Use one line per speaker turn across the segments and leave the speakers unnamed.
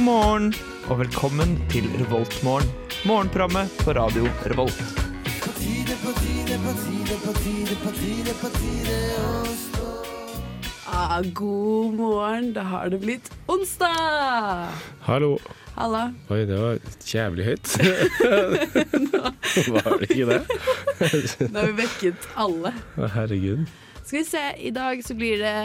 morgen og velkommen til Revoltmorgen. Morgenprogrammet på radio Revolt.
Ah, god morgen, da har det blitt onsdag!
Hallo.
Halla.
Oi, det var jævlig høyt. var det ikke det?
Nå har vi vekket alle.
Å, Herregud.
Skal vi se, i dag så blir det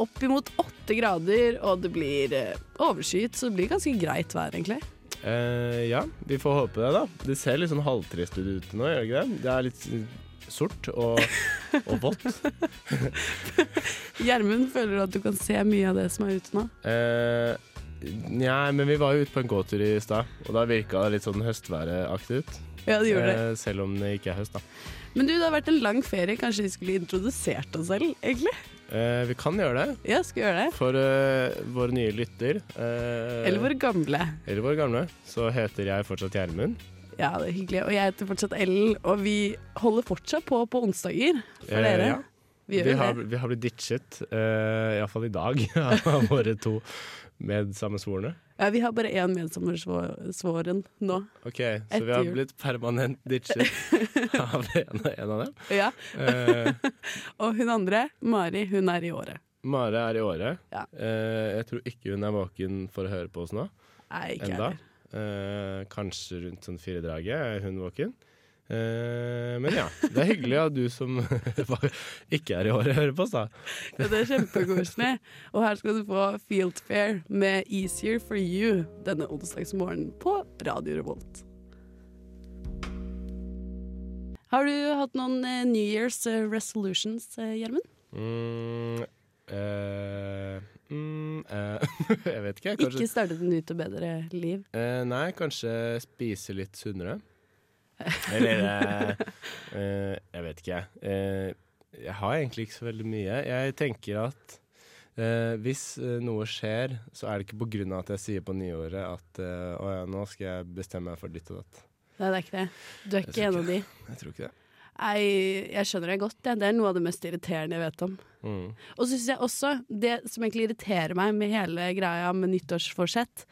oppimot åtte grader, og det blir eh, overskyet, så det blir ganske greit vær, egentlig.
Eh, ja, vi får håpe det, da. Det ser litt sånn halvtrist ut nå, gjør det ikke det? Det er litt eh, sort og, og vått.
Gjermund, føler du at du kan se mye av det som er ute nå?
Eh, Nja, men vi var jo ute på en gåtur i stad, og da virka det litt sånn høstværaktig ut.
Ja, det gjorde det.
Eh, selv om det ikke er høst, da.
Men du, det har vært en lang ferie. Kanskje vi skulle introdusert oss selv, egentlig?
Eh, vi kan gjøre det
Ja, skal vi gjøre det?
for eh, vår nye lytter. eh,
Eller våre gamle.
eller vår gamle. Så heter jeg fortsatt Gjermund.
Ja, det er hyggelig. Og jeg heter fortsatt Ellen, og vi holder fortsatt på på onsdager for
Eh,
dere.
ja.
Vi gjør
Vi
jo
har,
det.
vi har blitt ditchet, uh, iallfall i dag, av våre to medsammensvorne.
Ja, vi har bare én medsammersvåren nå.
Ok, så vi
Etter
har
jul.
blitt permanent ditchet av en, en av dem.
Ja.
Eh,
Og hun andre, Mari, hun er i året.
Mare er i året.
Ja.
Eh, jeg tror ikke hun er våken for å høre på oss nå
Nei, ikke
enda.
heller.
Eh, kanskje rundt sånn firedraget er hun våken. Eh, men ja, det er hyggelig at du som ikke er i året, hører på oss, da.
Ja, det er kjempekoselig. Og her skal du få Field Fair med Easier for you denne onsdagsmorgenen på Radio Revolt. Har du hatt noen eh, New Year's eh, resolutions, eh, Gjermund?
Mm, eh, mm, eh, jeg vet ikke. Kanskje
Ikke startet en ny til bedre liv?
Eh, nei, kanskje spise litt sunnere. Eller eh, eh, Jeg vet ikke, jeg. Eh, jeg har egentlig ikke så veldig mye. Jeg tenker at eh, hvis eh, noe skjer, så er det ikke på grunn av at jeg sier på nyåret at eh, å ja, nå skal jeg bestemme meg for ditt og datt.
Nei, det er ikke det. Du er
Jeg
ikke en av de.
Jeg tror ikke det.
Nei, jeg skjønner deg godt. Ja. Det er noe av det mest irriterende jeg vet om.
Mm.
Og så syns jeg også det som egentlig irriterer meg med hele greia med nyttårsforsett,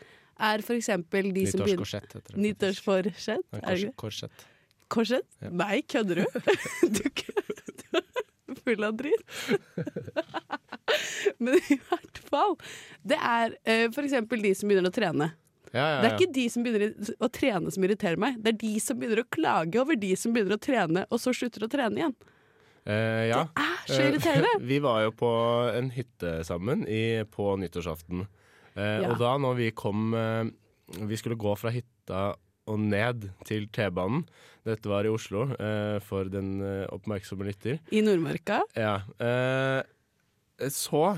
er for eksempel de som begynner
Nyttårskorsett heter det.
Nyttårsforsett?
faktisk.
Er
Nei,
det
kors,
ikke?
korsett.
Korsett?
Ja.
Nei, kødder du? du kødder. Full av dritt. Men i hvert fall. Det er eh, for eksempel de som begynner å trene.
Ja, ja, ja.
Det er ikke de som begynner å trene som irriterer meg. Det er de som begynner å klage over de som begynner å trene, og så slutter å trene igjen.
Eh, ja.
Ah, så irriterende!
Eh, Vi var jo på en hytte sammen i, på nyttårsaften. Eh,
Ja.
Og da når vi kom eh, Vi skulle gå fra hytta og ned til T-banen. Dette var i Oslo, eh, for den eh, oppmerksomme lytter.
I Nordmarka.
Ja. Eh, så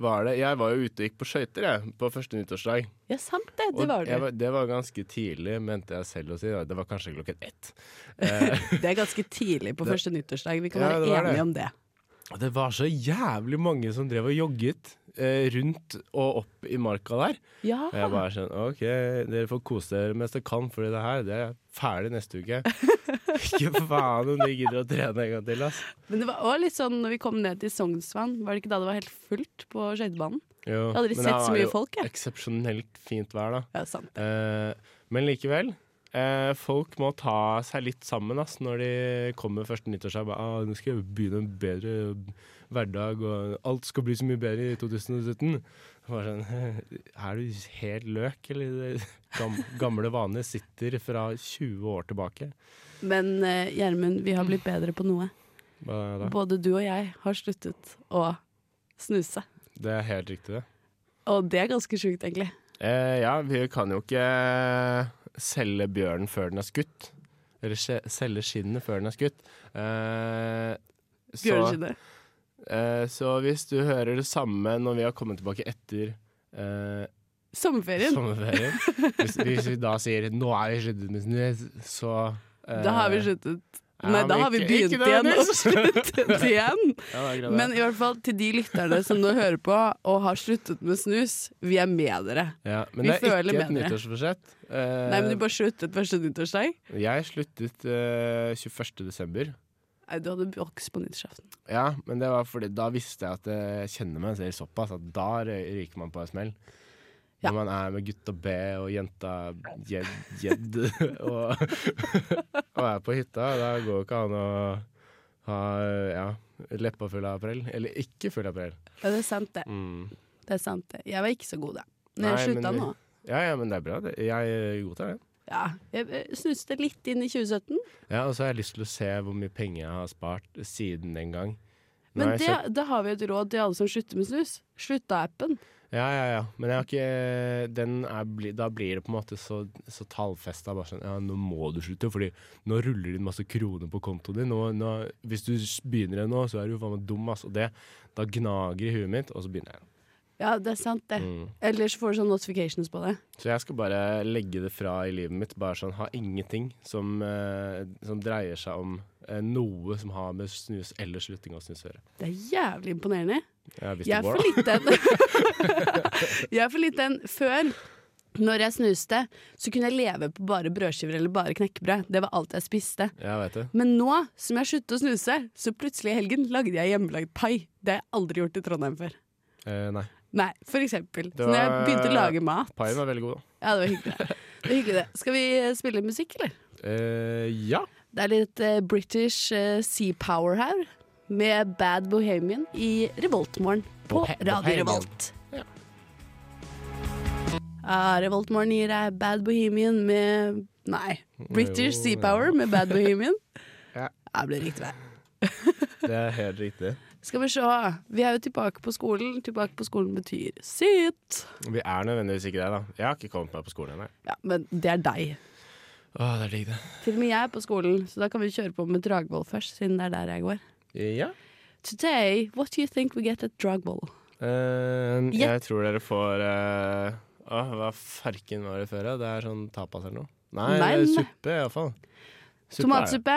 var det Jeg var jo ute og gikk på skøyter, jeg, på første nyttårsdag.
Ja, sant det.
Og
Det var
jeg
det.
det var ganske tidlig, mente jeg selv å si. Det var kanskje klokken ett. Eh,
Det er ganske tidlig på første nyttårsdag. Vi kan
Ja,
være
det var det.
enige om det.
Og det var så jævlig mange som drev og jogget eh, rundt og opp i marka der.
Ja.
Og jeg bare sånn OK, dere får kose dere mens dere kan, fordi det her det er ferdig neste uke. Ikke faen om de gidder å trene en gang til, ass.
Men det var også litt sånn når vi kom ned til Sognsvann, var det ikke da det var helt fullt på skøytebanen?
Jo,
Jeg har aldri
men
sett
det
så
var
mye
jo
folk, jeg.
Eksepsjonelt fint vær, da.
Ja, sant.
Eh, men likevel. Eh, folk må ta seg litt sammen ass, når de kommer første nyttårsdag. Bare, Ah, 'Nå skal jeg begynne en bedre hverdag, og alt skal bli så mye bedre i 2017.' Bare sånn, Er du helt løk, eller? Gam, gamle vaner sitter fra 20 år tilbake.
Men eh, Gjermund, vi har blitt bedre på noe.
Hva da?
Både du og jeg har sluttet å snuse.
Det er helt riktig, det.
Og det er ganske sjukt, egentlig.
Eh, ja, vi kan jo ikke selge bjørnen før den er skutt. Eller skje- selge skinnet før den er skutt. Eh, så-
Bjørneskinnet.
Eh, Så hvis du hører det samme når vi har kommet tilbake etter eh,
Sommerferien.
sommerferien hvis, hvis vi da sier 'nå er vi sluttet med snus', så eh,
Da har vi sluttet.
ja,
Nei,
men
da har vi
ikke-
begynt
ikke
igjen og
nødvendigvis.
sluttet igjen.
Ja, det er akkurat det.
Men i hvert fall til de lytterne som nå hører på og har sluttet med snus, vi er med dere.
ja, men
vi
det er
føler
ikke et
med dere.
nyttårsforsett. Eh,
Nei, men du bare sluttet første nyttårsdag.
Jeg sluttet eh, 21. desember.
Nei, du hadde boks på nyttårsaften.
Ja, men det var fordi da visste jeg at jeg kjenner meg selv såpass at da rø- ryker man på en smell.
Ja.
Når man er med gutta B og jenta Jed, jed og, og er på hytta, da går ikke an å ha ja, leppa full av aprell. Eller ikke full av aprell.
Ja, det er sant, det.
Mm.
det, er sant det. Jeg var ikke så god, da. Men jeg
Nei, men
slutta
vi-
nå.
Ja, ja, men det er bra. det. Jeg godtar det.
Ja, jeg eh, snuste litt inn i 2017.
Ja, Og så har jeg lyst til å se hvor mye penger jeg har spart siden den gang. Nå har
Men
jeg
det, da har vi et råd til alle som slutter med snus. Slutt da appen.
Ja, ja, ja. Men jeg har ikke den er, bli- Da blir det på en måte så, så tallfesta. Bare sånn Ja, nå må du slutte, Fordi nå ruller det inn masse kroner på kontoen din. Nå, nå, hvis du s- begynner igjen nå, så er du jo faen meg dum, ass. Og det Da gnager i huet mitt, og så begynner jeg igjen.
Ja, det er sant, det.
Mm.
Eller så får du sånne notifications på det.
Så jeg skal bare legge det fra i livet mitt. Bare sånn ha ingenting som, eh, som dreier seg om eh, noe som har med snus eller slutting av snus å gjøre.
Det er jævlig imponerende.
Ja, hvis
Jeg
det
er
går,
for
da.
liten. jeg er for liten. Før, når jeg snuste, så kunne jeg leve på bare brødskiver eller bare knekkebrød. Det var alt jeg spiste.
Jeg vet det.
Men nå som jeg sluttet å snuse, så plutselig i helgen lagde jeg hjemmelagd pai. Det har jeg aldri gjort i Trondheim før.
Eh, nei.
Nei, for eksempel.
Det
Så når jeg
var-
begynte å lage mat
Paien var veldig god, da.
Ja, det var hyggelig. Det var hyggelig det. Skal vi eh, spille musikk, eller?
Eh, ja.
Det er litt eh, British eh, Sea Power her, med Bad Bohemian i Revoltmorgen på
Bohe-
Radio
Bohemian.
Revolt.
Ja.
Ja, Revoltmorgen gir deg Bad Bohemian med Nei, British
Jo,
Sea
ja.
Power med Bad Bohemian.
Ja.
Det ble riktig vei.
Det er helt riktig.
Skal vi se. Vi er jo tilbake på skolen. Tilbake på skolen betyr sitt.
Vi er nødvendigvis ikke det, da. Jeg har ikke kommet meg på skolen ennå. jeg.
Ja, men det er deg.
Å, det er digg, det.
Til og med jeg er på skolen, så da kan vi kjøre på med Dragvoll først, siden det er der jeg går.
Ja.
Today, what do you think we get at Dragvoll?
Eh,
Ja.
Jeg tror dere får eh, Åh, Hva farken var det før? da? Det er sånn tapas eller noe? Nei,
Nei,
det er
nei.
suppe iallfall.
Tomatsuppe,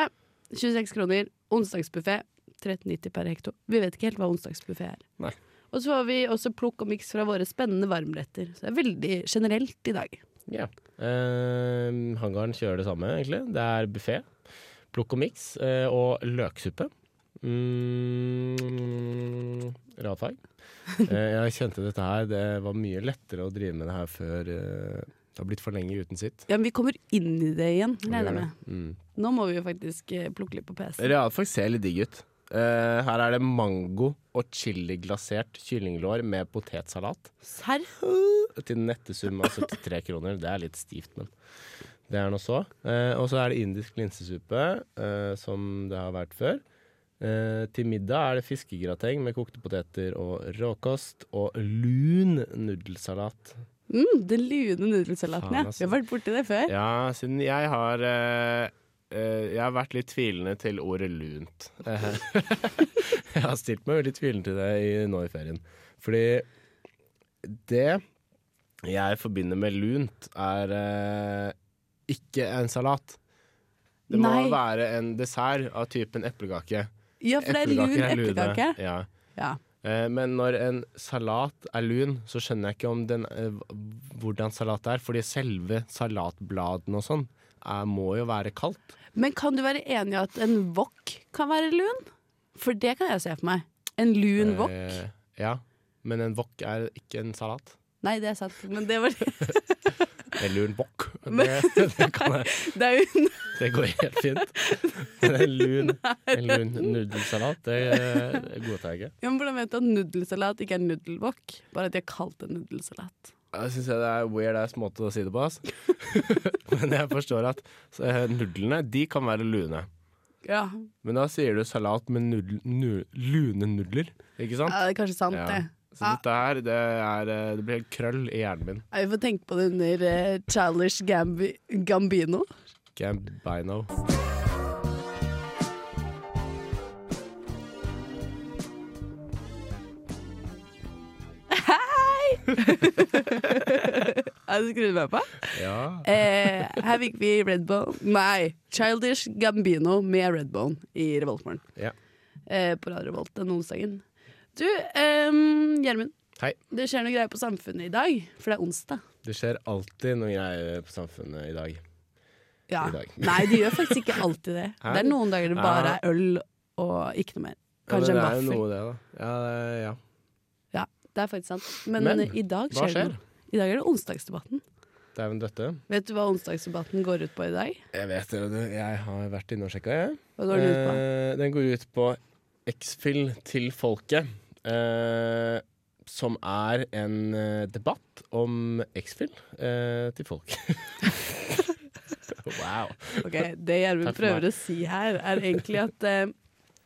26 kroner. Onsdagsbuffé, 13,90 per hekto. Vi vet ikke helt hva onsdagsbuffé er.
Nei.
Og så får vi også plukk og miks fra våre spennende varmretter. Så det er veldig generelt i dag.
Ja. Eh, hangaren kjører det samme, egentlig. Det er buffé, plukk og miks eh, og løksuppe. Mm, Radfag. Eh, jeg kjente dette her. Det var mye lettere å drive med det her før eh, det har blitt for lenge uten sitt.
Ja, men vi kommer inn i det igjen, regner jeg med.
Mm.
Nå må vi jo faktisk eh, plukke litt på PC.
Realfag ser litt digg ut. Eh, her er det mango og chiliglasert kyllinglår med potetsalat.
Serr?
Til nette sum av 73 kroner. Det er litt stivt, men det er nå så. Eh, og så er det indisk linsesuppe, eh, som det har vært før. Eh, til middag er det fiskegrateng med kokte poteter og råkost. Og lun nudelsalat.
Mm, den lune nudelsalaten,
Faen,
ja.
altså.
Vi har vært borti det før.
Ja, siden jeg har eh, eh, Jeg har vært litt tvilende til ordet lunt. Eh, jeg har stilt meg veldig tvilende til det i, nå i ferien. Fordi det jeg forbinder med lunt, er eh, ikke en salat. Det må
Nei.
være en dessert av typen eplekake.
Ja, for det er
Eplekaker
lun
er lune.
eplekake.
Ja.
Ja.
Eh, Men når en salat er lun, så skjønner jeg ikke om den, eh, hvordan salat er. Fordi selve salatbladene og sånn er, må jo være kaldt.
Men kan du være enig i at en wok kan være lun? For det kan jeg se for meg. En lun wok.
Eh, ja. Men en wok er ikke en salat.
Nei, det er sant, men det var
En lun wok. Det,
Men-
det, kan jeg,
Det er jo
det går helt fint. Men en lun, en lun nudelsalat, det eh, godtar jeg ikke.
Ja, men Hvordan vet du at nudelsalat ikke er nudelwok? Bare at de har kalt det nudelsalat.
Jeg syns det er weird ass måte å si det på, ass. Men jeg forstår at eh, nudlene, de kan være lune.
Ja,
Men da sier du salat med nudl, nu, lune nudler, ikke sant?
det er kanskje sant,
Ja.
det. Ah.
Så dette her, det, er, eh, det blir helt krøll i hjernen min.
Nei, Vi får tenke på det under eh, Childish Gambi Gambino.
Gambino.
Er du skrudd med på?
Ja.
Eh, her fikk vi Redbone Nei, Childish Gambino med Redbone i Revoltmorgen.
Ja.
Eh, på Radio Revolt den onsdagen. Du, ehm, Gjermund.
Hei.
Det skjer noe greier på samfunnet i dag, for det er onsdag.
Det skjer alltid noe greier på samfunnet i dag.
Ja.
I dag.
Nei, det gjør faktisk ikke alltid det.
Hæ?
Det er noen dager det bare er øl og ikke noe mer. Kanskje
ja, men
en
det er jo
vaffel.
noe, det, da. Ja, det, ja.
Ja, det er faktisk sant. Men, eh,
Men,
i dag
Hva
skjer det
skjer?
noe. I dag er det onsdagsdebatten.
Dæven døtte.
Vet du hva onsdagsdebatten går ut på i dag?
Jeg vet det, du. Jeg har vært inne og sjekka, jeg.
Hva går den ut på?
Eh, den går ut på X-Fill til folket. eh, som er en eh, debatt om X-Fill eh, til folk. wow.
Ok, Det Gjermund
Takk for meg.
prøver å si her, er egentlig at eh,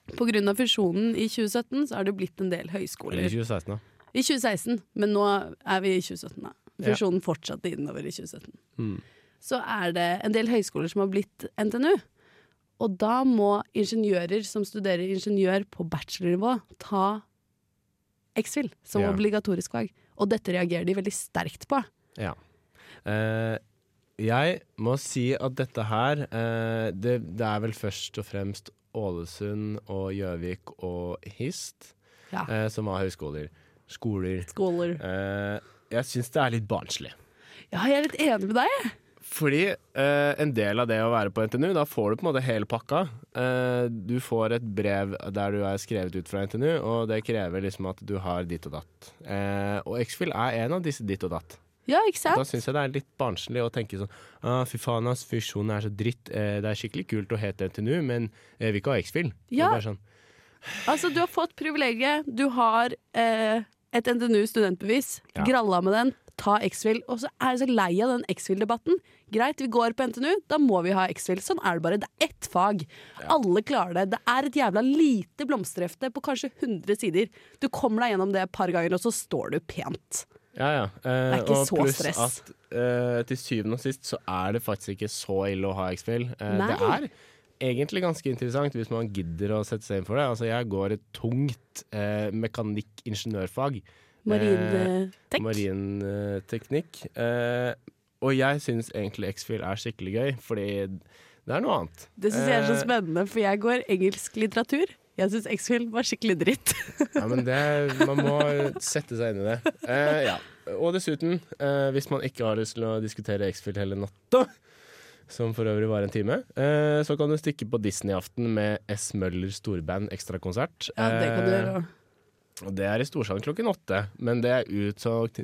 pga. fusjonen i 2017 så har det blitt en del høyskoler.
2016, da.
I 2016, men nå er vi i 2017. da.
Ja.
Fusjonen fortsatte innover i 2017.
Mm.
Så er det en del høyskoler som har blitt NTNU. Og da må ingeniører som studerer ingeniør på bachelornivå, ta X-FIL som
Ja.
obligatorisk fag. Og dette reagerer de veldig sterkt på.
Ja. Eh, jeg må si at dette her eh, det, det er vel først og fremst Ålesund og Gjøvik og Hist
Ja.
eh, som har høyskoler. Skoler.
Scholar.
Eh, jeg syns det er litt barnslig.
Ja, jeg er litt enig med deg. jeg.
Fordi eh, en del av det å være på NTNU, da får du på en måte hele pakka. Eh, du får et brev der du er skrevet ut fra NTNU, og det krever liksom at du har ditt og datt. Eh, og X-Fill er en av disse ditt og datt.
Ja, ikke sant?
Da syns jeg det er litt barnslig å tenke sånn ah, Fy faen, ass, fusjonen er så dritt. Eh, det er skikkelig kult å hete NTNU, men jeg vil ikke ha X-Fill. Det er
Ja.
bare Sånn,
Altså, du har fått privilegiet. Du har eh, et NTNU studentbevis.
Ja.
Gralla med den. Ta X-Fil. Og så er jeg så lei av den X-Fil-debatten. Greit, vi går på NTNU, da må vi ha X-Fil. Sånn er det bare. Det er ett fag. Alle klarer det. Det er et jævla lite blomsterhefte på kanskje 100 sider. Du kommer deg gjennom det et par ganger, og så står du pent.
ja, ja. Eh,
er ikke
og
så
pluss
stress.
at eh, til syvende og sist så er det faktisk ikke så ille å ha X-Fill. Eh, det
Nei.
er egentlig ganske interessant hvis man gidder å sette seg inn for det. Altså, jeg går et tungt eh, mekanikk-ingeniørfag. Eh,
eh, Marintek.
Marinteknikk. Eh, og jeg syns egentlig X-Fill er skikkelig gøy, fordi det er noe annet.
det syns jeg er så
Eh,
spennende, for jeg går engelsk litteratur. Jeg syns X-Fil var skikkelig dritt.
Ja, men det, man må sette seg inn i det. Eh, ja. Og dessuten, eh, hvis man ikke har lyst til å diskutere X-Fill hele natta, som for øvrig var en time, eh, så kan du stikke på Disney-aften med S. Møller storband ekstrakonsert.
Ja, det kan du gjøre også.
Eh, og det er i Storsalen klokken åtte, men det er utsolgt.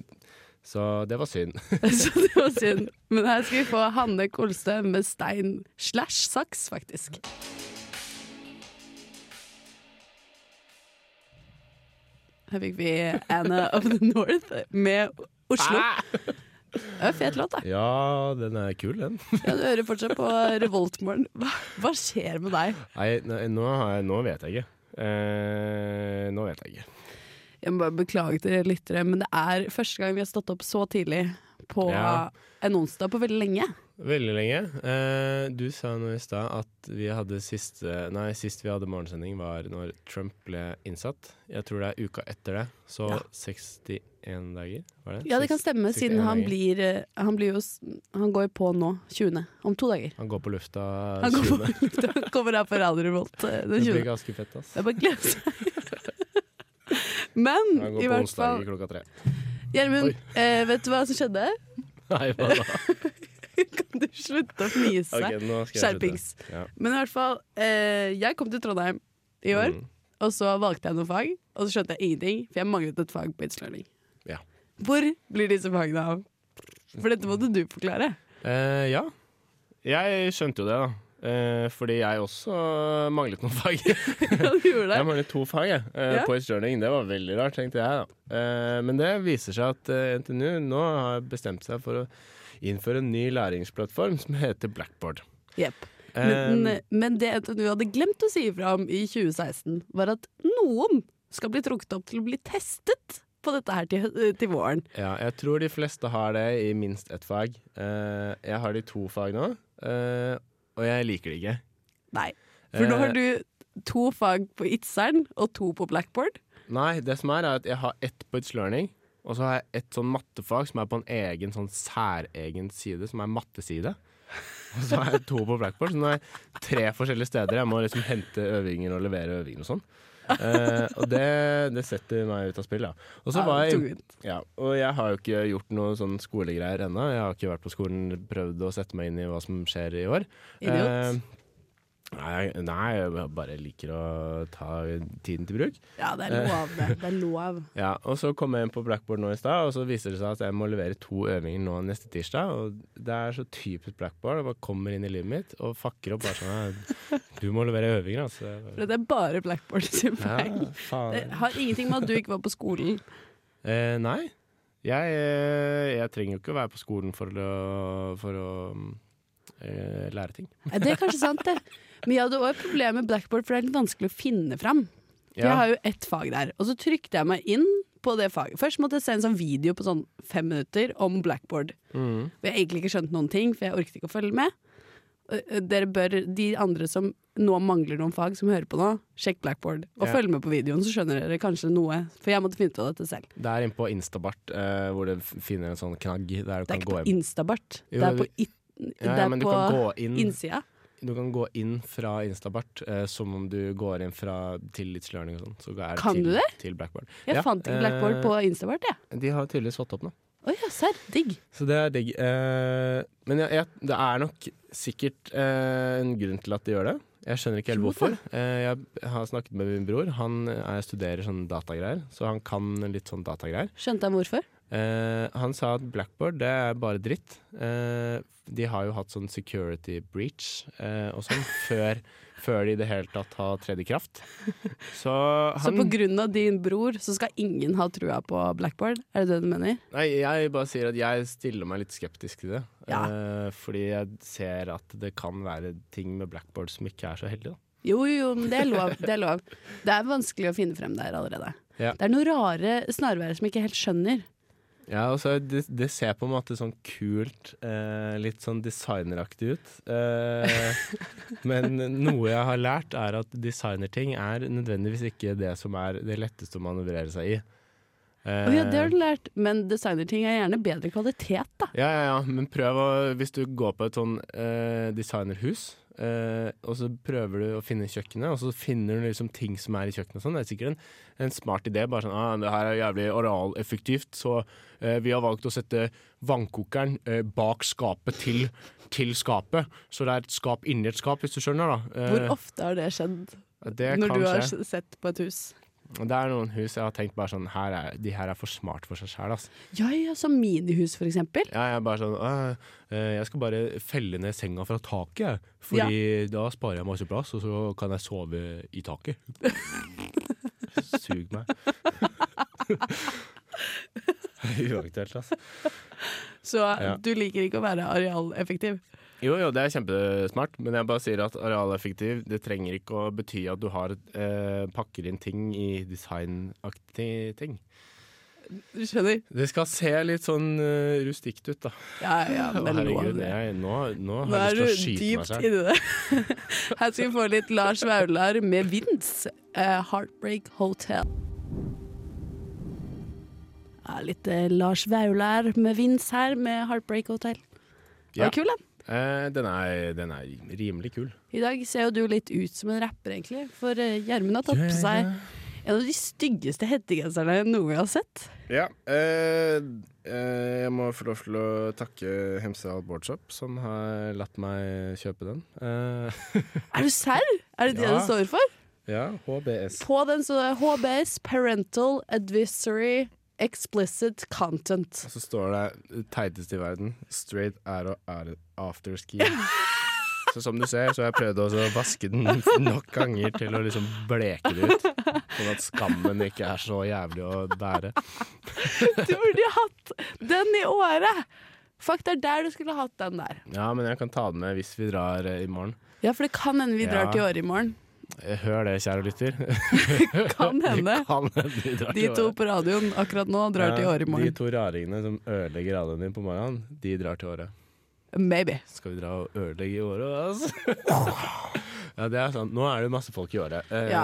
Så det var synd.
Så det var synd. Men her skal vi få Hanne Kolstø med stein slash saks, faktisk. Her fikk vi Anna of the North med Oslo. Det er fet låt, da.
Ja, den er kul, den.
Ja, du hører fortsatt på Revoltmorgen. Hva, hva skjer med deg?
Nei, nei, nå, har jeg, nå vet jeg ikke. Eh, nå vet jeg ikke.
Jeg må bare beklage til dere lyttere, men det er første gang vi har stått opp så tidlig på
Ja.
en onsdag på veldig lenge.
Veldig lenge. Eh, du sa nå i stad at vi hadde siste, nei, sist vi hadde morgensending, var når Trump ble innsatt. Jeg tror det er uka etter det. Så
Ja.
61 dager, var det?
Ja, det kan stemme,
61
siden han
dager.
blir, eh, han blir jo s- Han går jo på nå, 20. Om to dager.
Han går på lufta
Han går på
20.
lufta, han kommer her på Radio Revolt eh,
Det
den 20.
blir ganske fett, ass.
Det er bare å glede seg. Men
Han
Mm, i
går på
hvert fall
onsdager klokka tre.
Gjermund, eh, vet du hva som skjedde?
Nei, hva da?
Kan du slutte å fnise?
Ok, nå skal jeg
Skjerpings.
slutte. Ja.
Men i hvert fall, eh, jeg kom til Trondheim i år,
Mm.
og så valgte jeg noen fag. Og så skjønte jeg ingenting, for jeg manglet et fag på It's-learning.
Ja.
Hvor blir disse fagene av? For dette måtte du forklare.
Eh, ja. Jeg skjønte jo det, da. Eh, fordi jeg også manglet noen fag.
Ja, du gjorde
Jeg
det.
manglet to fag jeg, eh,
Ja.
på It's Journey. Det var veldig rart, tenkte jeg. da. Eh, Men det viser seg at eh, NTNU nå har bestemt seg for å innføre en ny læringsplattform som heter Blackboard.
Jepp.
Eh,
Men, men det NTNU hadde glemt å si ifra om i 2016, var at noen skal bli trukket opp til å bli testet på dette her til, eh, til våren.
Ja, jeg tror de fleste har det i minst ett fag. Eh, Jeg har det i to fag nå, eh, og jeg liker det ikke.
Nei. For nå
Eh,
har du to fag på Itzeren og to på Blackboard.
Nei, det som er, er at jeg har ett på It's Learning, og så har jeg ett sånn mattefag som er på en egen sånn særegen side, som er matteside. Og så har jeg to på Blackboard, så nå er jeg tre forskjellige steder. Jeg må liksom hente øvinger og levere øvinger og sånn. Eh, og det, det setter meg ut av spill, ja. Og så
Ja,
var jeg
tungvint.
ja, og jeg har jo ikke gjort noe sånn skolegreier ennå. Jeg har ikke vært på skolen, prøvd å sette meg inn i hva som skjer i år.
Idiot.
Eh, Nei, nei, jeg bare liker å ta tiden til bruk.
Ja, det er
Eh.
lov, det. Det er lov.
Ja, og så kom jeg inn på Blackboard nå i stad, og så viser det seg at jeg må levere to øvinger nå neste tirsdag. Og det er så typisk Blackboard. Jeg bare kommer inn i livet mitt og fucker opp bare sånn Du må levere øvinger, altså. Jeg bare,
Det er bare Blackboard sin feil.
Ja,
Det
faen.
har ingenting med at du ikke var på skolen.
Eh, nei. Jeg, eh, jeg trenger jo ikke å være på skolen for å, for å eh, lære ting.
Nei, Det er kanskje sant, det. Men jeg hadde også et problem med Blackboard, for det er litt vanskelig å finne fram. For Jeg har jo ett fag der, og så trykte jeg meg inn på det faget. Først måtte jeg se en sånn video på sånn fem minutter om Blackboard.
Mm.
Og jeg har egentlig ikke skjønt noen ting, for jeg orket ikke å følge med. Ø, ø, Dere bør, De andre som nå mangler noen fag, som hører på nå, sjekk Blackboard. Og
Ja.
følg med på videoen, så skjønner dere kanskje noe. For jeg måtte finne ut av dette selv.
Det er inne på Instabart, eh, hvor du f- finner en sånn knagg der du
Det er
kan gå
ikke på
inn.
Instabart.
Jo,
det er på, it,
Ja,
det
ja,
er
men du
på
kan gå inn,
innsida.
du kan gå inn fra Instabart eh, som om du går inn fra tillitslearning og sånn. Så er
Kan
til,
du det?
Til Blackboard.
Jeg
Ja,
fant ikke Blackboard
eh,
på Instabart, jeg.
De har tydeligvis fått opp nå.
Å ja, serr. Digg.
Så det er digg. Eh, men jeg, jeg, det er nok sikkert eh, en grunn til at de gjør det. Jeg skjønner ikke helt
Tror
hvorfor.
det.
Eh, jeg har snakket med min bror. Han eh, studerer sånn datagreier, så han kan litt sånn datagreier.
Skjønte han hvorfor?
Eh, han sa at Blackboard det er bare dritt. Eh, de har jo hatt sånn security breach eh, og sånn før, før de i det hele tatt har tredd i kraft. Så
Så
han
på grunn av din bror så skal ingen ha trua på Blackboard? Er det det du mener?
Nei, jeg bare sier at jeg stiller meg litt skeptisk til det.
Ja.
Eh, fordi jeg ser at det kan være ting med Blackboard som ikke er så heldige. Da.
Jo, jo, men det er lov. Det er, lov. Det er vanskelig å finne frem der allerede.
Ja.
Det er noen rare snarveier som jeg ikke helt skjønner.
Ja, og så det, det ser på en måte sånn kult, eh, litt sånn designeraktig ut. Eh, men noe jeg har lært, er at designerting er nødvendigvis ikke det som er det letteste å manøvrere seg i. Eh,
Å ja, det har du lært, men designerting er gjerne bedre kvalitet, da.
Ja, ja, ja, men prøv å Hvis du går på et sånn eh, designerhus, eh, og så prøver du å finne kjøkkenet, og så finner du liksom ting som er i kjøkkenet og sånn, det er sikkert en, en smart idé. Bare sånn ah, 'Det her er jævlig oraleffektivt, så eh, vi har valgt å sette vannkokeren eh, bak skapet til, til skapet'. Så det er et skap inni et skap, hvis du skjønner, da.
Hvor
Eh,
ofte har det skjedd
det
når
kan
du har
skje.
sett på et hus?
Det er noen hus jeg har tenkt bare sånn her er, 'De her er for smart for seg sjæl', altså.
Ja, ja, som minihus, for eksempel.
Ja, jeg er bare sånn «Åh, eh, Jeg skal bare felle ned senga fra taket, jeg. Fordi da sparer jeg masse plass, og så kan jeg sove i taket. Sug meg. Uaktuelt, altså.
Så
Ja.
du liker ikke å være arealeffektiv.
Jo, jo, det er kjempesmart, men jeg bare sier at arealeffektiv det trenger ikke å bety at du har, eh, pakker inn ting i designaktige ting.
Du skjønner?
Det skal se litt sånn eh, rustikt ut, da.
Ja, ja,
Å,
men det er lov,
herregud,
det.
jeg, nå,
Nå
nå har
er
jeg
du
lyst til å skyte meg
dypt
selv.
inni det. Her skal vi få litt Lars Vaular med Vince. eh, 'Heartbreak Hotel'. Ja, litt eh, Lars Vaular med Vince her, med 'Heartbreak Hotel'.
Ja.
Ja. Kul, den.
Eh, den, er, den er rimelig kul.
I dag ser jo du litt ut som en rapper, egentlig. For eh, Gjermund har tatt på seg en av de styggeste hettegenserne jeg noen gang har sett.
Ja. Eh, eh, jeg må få lov til å takke Hemsedal Boardshop,
Som har latt meg kjøpe den. Eh,
Er du serr? Er det det
Ja.
det står for?
ja, HBS.
På den så er HBS, Parental Advisory Explicit Content.
Og så står det det teiteste i verden. Straight arrow ar- afterski. Så som du ser, så har jeg prøvd også å vaske den nok ganger til å liksom bleke det ut. Sånn at skammen ikke er så jævlig å bære.
Du burde jo hatt den i året! Fuck, det er der du skulle hatt den der.
Ja, men jeg kan ta den med hvis vi drar eh, i morgen.
Ja, for det kan hende vi drar
Ja.
til året i morgen.
Eh, Hør det, kjære lytter.
Kan hende.
Det kan hende vi drar
De
til
to
Åre.
på radioen akkurat nå drar til året i
Ja, De
morgen.
to raringene som ødelegger radioen din på morgenen, de drar til året.
Maybe.
Skal vi dra og ødelegge i året, altså? ja, det er sant. Nå er det masse folk i året. Eh,
Ja.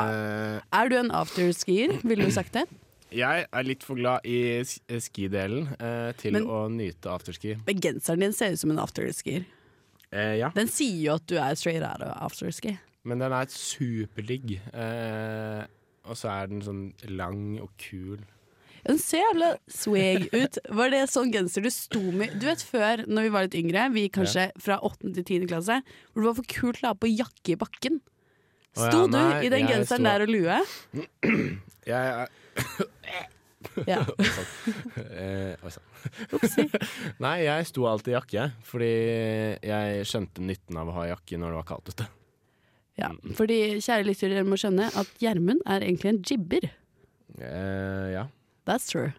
Er du en afterskier, ville du sagt det?
Jeg er litt for glad i s- eh, skidelen eh, til
Men-
å nyte afterski.
Men Genseren din ser ut som en afterskier.
Eh, ja.
Den sier jo at du er straight out of afterski.
Men den er superdigg. Eh, og så er den sånn lang og kul.
Ja, Den ser jævla swag ut. Var det sånn genser du sto med Du vet før, når vi var litt yngre, vi kanskje fra 8. til 10. klasse, hvor det var for kult å ha på jakke i bakken.
Å ja,
Sto
nei,
du i den
jeg sto-
genseren der og lue?
Jeg er
Ja.
Eh, oi sann.
Upsi.
Nei, jeg sto alltid i jakke, fordi jeg skjønte nytten av å ha jakke når det var kaldt ute.
Ja.
Mm,
Fordi, kjære lyttere, dere må skjønne at Gjermund er egentlig en jibber.
Eh, ja.
That's true.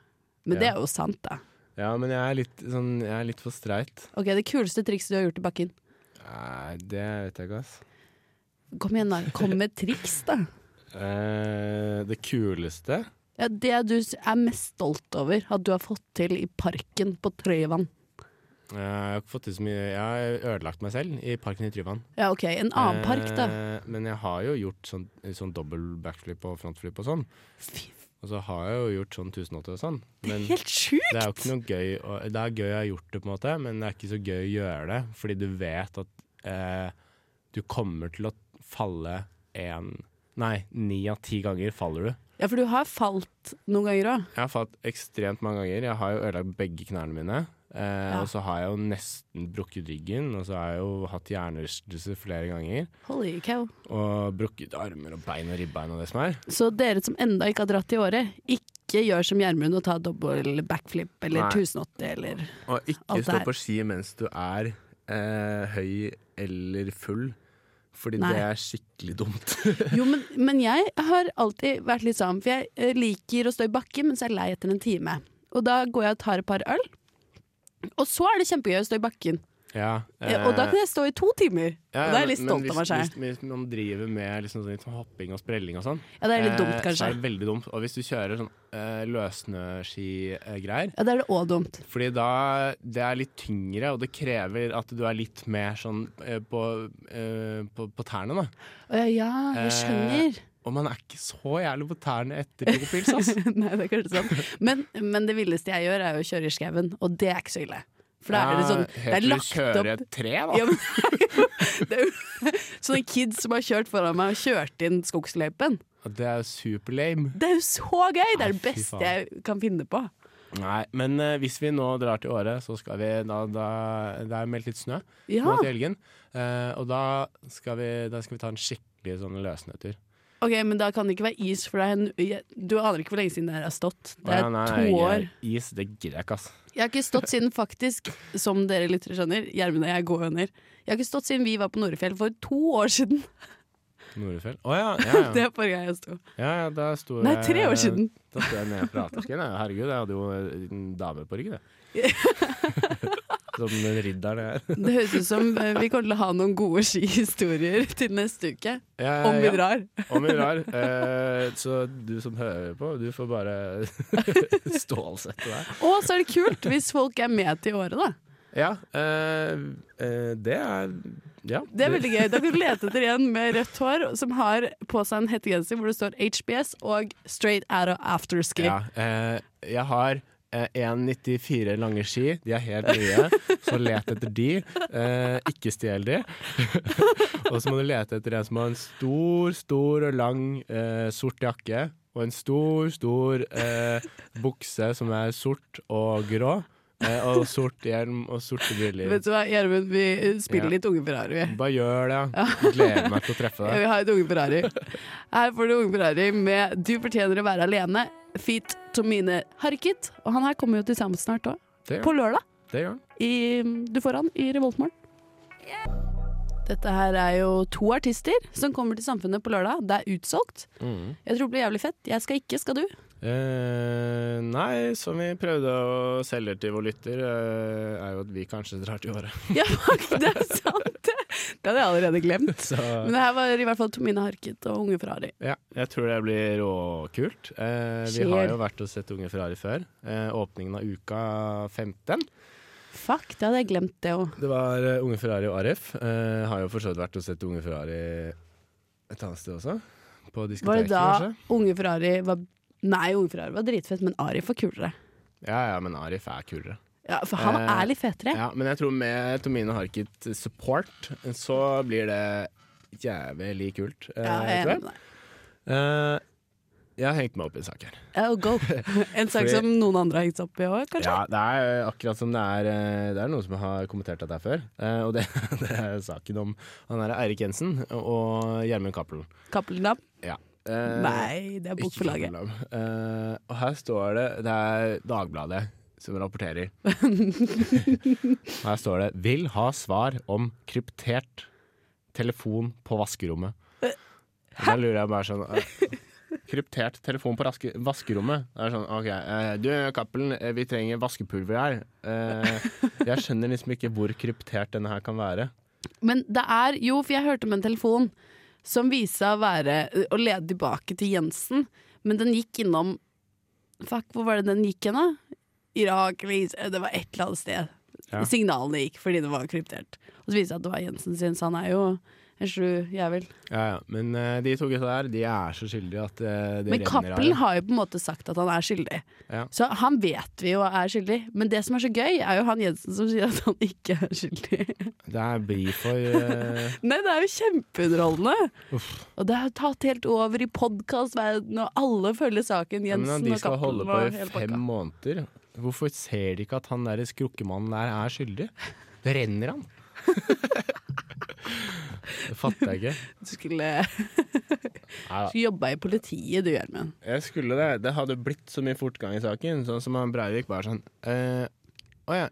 Men det
Ja.
er jo sant, da.
ja, men jeg er litt, sånn, jeg er litt for streit.
Ok, Det kuleste trikset du har gjort i bakken.
Nei, det vet jeg ikke, ass.
Kom igjen, da. Kom med triks, da.
Eh, det kuleste
Ja, det du s- er mest stolt over at du har fått til i parken på Trøyvann.
Eh, Jeg har ikke fått til så mye Jeg har ødelagt meg selv i parken i Tryvann.
Ja, OK. En annen Ah, park, da.
Eh, Men jeg har jo gjort sånn, sånn dobbel backflip og frontflip og sånn.
Fy,
Og så har jeg jo gjort sånn 1080 og sånn. Men
helt sjukt!
det er jo ikke noe gøy å, Det er gøy jeg har gjort det, på en måte, men det er ikke så gøy å gjøre det. Fordi du vet at eh, du kommer til å falle én Nei, ni av ti ganger faller du.
Ja, for du har falt noen ganger òg.
Jeg har falt ekstremt mange ganger. Jeg har jo ødelagt begge knærne mine. Eh,
Ja.
Og så har jeg jo nesten brukket ryggen, og så har jeg jo hatt hjernerystelse flere ganger.
Holy cow.
Og brukket armer og bein og ribbein og det som er.
Så dere som enda ikke har dratt i året, ikke gjør som Gjermund og ta dobbel backflip eller
Nei.
1080 eller
Og ikke
Alt
stå
det her.
på ski mens du er eh, høy eller full. Fordi
Nei.
det er skikkelig dumt.
Jo, men, men jeg har alltid vært litt sånn, for jeg eh, liker å stå i bakken, men så er jeg lei etter en time. Og da går jeg og tar et par øl, og så er det kjempegøy å stå i bakken.
Ja,
Eh, Og da
eh,
kan jeg stå i to timer.
ja,
og da er jeg
men-
litt
men
stolt av meg
hvis-
selv.
Hvis, hvis man driver med liksom sånn litt sånn hopping og sprelling og sånn
Ja, det er litt dumt,
eh, Så
kanskje.
er det veldig dumt. Og hvis du kjører sånn eh, løssnøskigreier
Ja, det er det òg dumt.
Fordi da det er litt tyngre, og det krever at du er litt mer sånn eh, på, eh, på, på tærne, da.
Å ja, ja, jeg
Eh,
skjønner.
Og man er ikke så jævlig på tærne etter to pils, ass.
Nei, det er kanskje sant. Men, men det villeste jeg gjør, er jo å kjøre i skauen, og det er ikke så ille. For da er det sånn Det er lagt
Ah, Eh, Helt til du kjører
opp
et tre, da.
Ja, men det er jo sånne kids som har kjørt foran meg og kjørt inn skogsløypen.
Og Det er jo superlame.
Det er jo så gøy! Det er det
Nei, fy
beste
faen.
jeg kan finne på.
Nei, men eh, hvis vi nå drar til Åre, så skal vi da, da Det er meldt litt snø nå
Ja,
til helgen. Eh, og da skal, vi, da skal vi ta en skikkelig sånn løssnøtur.
ok, Men da kan det ikke være is, for det er en, jeg, du aner ikke hvor lenge siden det her har stått. Det
Å,
er
nei,
to år.
jeg- Is, det gidder jeg ikke, ass.
Jeg har ikke stått siden faktisk, som dere lyttere skjønner, Gjermund og jeg går under. Jeg har ikke stått siden vi var på Norefjell for to år siden.
Norefjell. Å ja, ja, ja.
Det er forrige gang jeg sto.
ja, ja. Da sto
Nei,
jeg-
tre år siden.
Da sto jeg nede på atersken. jeg. Herregud, jeg hadde jo en dame på ryggen, jeg. Som en ridder, det her.
Det høres ut som eh, vi kommer til å ha noen gode skihistorier til neste uke.
Ja,
Om vi
Eh, ja.
drar.
Om vi drar. Eh, så du som hører på, du får bare stålsette deg.
Og så er det kult hvis folk er med til året, da.
Ja, eh, eh, det er Ja.
Det er veldig gøy. Da kan du lete etter en med rødt hår som har på seg en hettegenser hvor det står HBS og Straight Out of Afterski.
Ja, eh, jeg har eh, 1,94 lange ski. De er helt nye, så let etter de. Eh, ikke stjel de. og så må du lete etter en som har en stor, stor og lang eh, sort jakke. Og en stor, stor eh, bukse som er sort og grå. Eh, og sort hjelm og sorte briller.
Vet du hva, Gjermund, vi eh, spiller
Ja.
litt Unge Ferrari. vi.
Bare gjør det. ja. Gleder meg til å
Jeg
treffe deg.
vil ha et Unge Ferrari. Her får du Unge Ferrari med 'Du fortjener å være alene', feat Tomine Harket. Og han her kommer jo til sammen snart òg.
Det
På
gjør,
lørdag.
det gjør. han.
i, du får han i Revoltmorgen. Dette her er jo to artister som kommer til Samfunnet på lørdag. Det er utsolgt.
Mm.
Jeg tror det blir jævlig fett. Jeg skal ikke, skal du?
Eh, nei, som vi prøvde å selge til vår lytter, eh, er jo at vi kanskje drar til året.
Ja, fuck, det er sant! Det hadde jeg allerede glemt.
Så
Men det her var i hvert fall Tomine Harket og Unge Ferrari.
ja, jeg tror det blir råkult. Eh, vi
Skjer.
har jo vært og sett Unge Ferrari før. Eh, åpningen av uka 15.
Fuck, det hadde jeg glemt, det òg.
Det var eh, Unge Ferrari og Arif. Eh, har jo for så vidt vært og sett Unge Ferrari et annet sted også. På
Var det
diskoteket,
da
kanskje.
Unge Ferrari var Nei, Unge Ferrari var dritfett, men Arif var kulere.
Ja, ja, men Arif er kulere.
Ja, for han
Eh,
er litt fetere.
Ja, men jeg tror med Tomine Harket support, så blir det jævlig kult. eh,
Ja, jeg er
tror jeg.
enig med deg.
Eh,
Jeg har hengt meg opp i en sak her.
Oh, go. En sak
Fordi-
som noen andre har hengt seg opp i òg, kanskje?
Ja, det er eh, akkurat som det er eh, Det er noen som har kommentert dette her før. Eh, Og det, det er saken om han her er Eirik Jensen og Gjermund Cappelen.
Cappelen Dam?
Ja. Eh,
Nei, det er bok
ikke
for laget.
Cappelen Dam. Eh, og her står det Det er Dagbladet som rapporterer. her står det 'Vil ha svar om kryptert telefon på vaskerommet'.
Eh,
Og Da lurer jeg bare sånn eh, Kryptert telefon på raske, vaskerommet. Det er sånn, ok, eh, Du, Cappelen, eh, vi trenger vaskepulver her. Eh, jeg skjønner liksom ikke hvor kryptert denne her kan være.
Men det er jo, for jeg hørte om en telefon som viste seg å være å lede tilbake til Jensen, men den gikk innom Fuck, hvor var det den gikk hen, da? Irak eller Is- Det var et eller annet sted.
Ja.
Signalene gikk fordi det var kryptert. Og så viste det seg at det var Jensen sin, så han er jo en sju jævel.
Ja, ja. Men eh, de to gutta der, de er så skyldige at eh, det
Men
renner
Cappelen
av.
har jo på en måte sagt at han er skyldig.
Ja.
Så han vet vi jo er skyldig. Men det som er så gøy, er jo han Jensen som sier at han ikke er skyldig.
Det er bri for eh,
Nei, det er jo kjempeunderholdende! Og det har tatt helt over i podkastverdenen, og alle følger saken.
Men
Jensen
at de
og
skal holde
Cappelen
på
og
i
hele
fem
pakka.
måneder. Hvorfor ser de ikke at han der skrukkemannen der er skyldig? Det renner han. det fatter jeg ikke.
Du skulle,
Nei da.
skulle jobba i politiet, du, Gjermund.
Jeg skulle det. Det hadde blitt så mye fortgang i saken. Sånn som han Breivik var sånn
Eh, Å ja,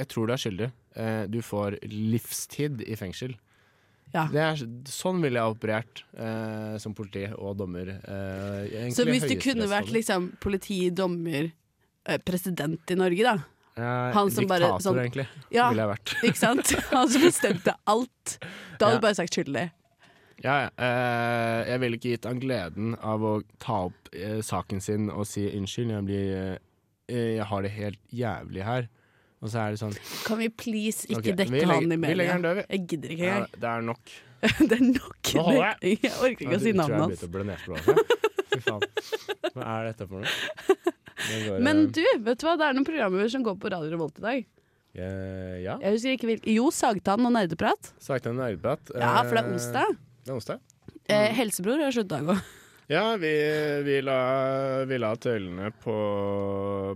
jeg tror du er skyldig. Eh, du får livstid i fengsel.
Ja.
Det er, sånn ville jeg operert eh, som politi og dommer. Eh, egentlig
Så hvis du kunne
høyesterettsdommer.
vært liksom, politi, dommer, eh, president i Norge, da.
Eh,
han som bare
Diktator,
sånn-
egentlig,
Ja,
ville jeg vært.
ikke sant? Han som bestemte alt. Da hadde
Ja.
du bare sagt skyldig.
Ja, ja. Eh, jeg ville ikke gitt han gleden av å ta opp eh, saken sin og si unnskyld, jeg, blir, eh, jeg har det helt jævlig her. Og så er det sånn
Kan vi please ikke
Ok, vi
dekke
legger-
han i
vi legger
media?
han død, vi.
Jeg gidder ikke
ja,
engang.
Det er nok.
Det er nok.
Nå holder
Jeg orker ikke å si
Nå tror
navnet hans.
Jeg begynte å bli nedblåst. Fy faen. Hva er dette for noe? Det går,
Men
eh,
du, vet du hva? Det er noen programmer som går på Radio Revolt i dag.
eh, Ja.
Jeg husker ikke hvilke Jo, Sagtann og Nerdeprat.
Sakte, men arbeidet.
Ja, for det er
Eh,
onsdag.
Det er onsdag.
Eh,
mm.
helsebror har sluttet å gå.
Ja, vi, vi, la, vi la tøylene på,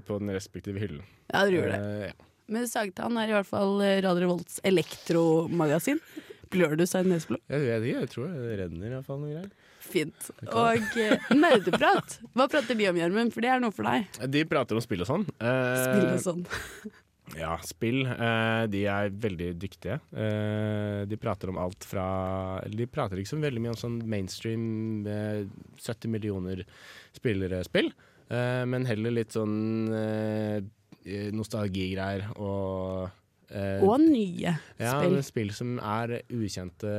på den respektive hyllen.
Ja, dere gjorde det.
Eh, ja.
Men Sagtann er i hvert fall eh, Radio Revolts elektromagasin. Blør du seg i nesblod?
Jeg vet ikke, jeg tror det renner i hvert fall noe greier.
Fint. Og eh, nerdeprat. Hva prater de om, Gjermund? For det er noe for deg.
De prater om spill og sånn. Eh,
Spill og sånn.
Ja, spill. eh, de er veldig dyktige. Eh, de prater om alt fra eller De prater ikke så veldig mye om sånn mainstream eh, 70 millioner spillere-spill, eh, men heller litt sånn eh, nostalgigreier og eh,
Og nye
ja,
spill.
men spill som er ukjente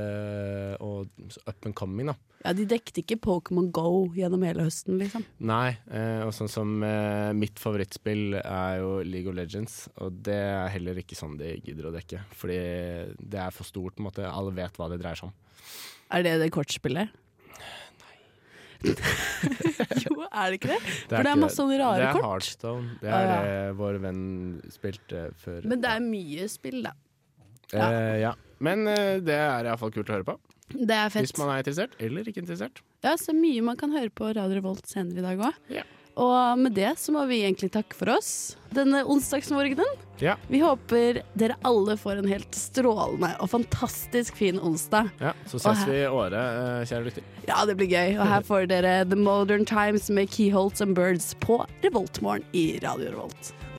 og up and coming, da.
Ja, de dekte ikke Pokémon Go gjennom hele høsten, liksom.
Nei, eh, og sånn som eh, mitt favorittspill er jo League of Legends, og det er heller ikke sånn de gidder å dekke. Fordi det er for stort, på en måte. Alle vet hva det dreier seg om.
Er det det kortspillet? Nei. jo, er det ikke det? For det er
ikke-
masse sånne rare
Det er
kort.
Heartstone. Det
Å,
er
ja.
det vår venn spilte før.
Men det er mye spill, da.
ja. Eh, ja. Men eh, det er iallfall kult å høre på.
Det er fett.
Hvis man er interessert, eller ikke interessert.
Ja, så mye man kan høre på Radio Revolt senere i dag òg.
Ja.
Og med det så må vi egentlig takke for oss denne onsdagsmorgenen.
Ja.
Vi håper dere alle får en helt strålende og fantastisk fin onsdag.
Ja, Så
Og
ses
her-
vi i året, eh, kjære lytter.
Ja, det blir gøy. Og her får dere The Modern Times med Keyholes and Birds på Revoltmorgen i Radio Revolt.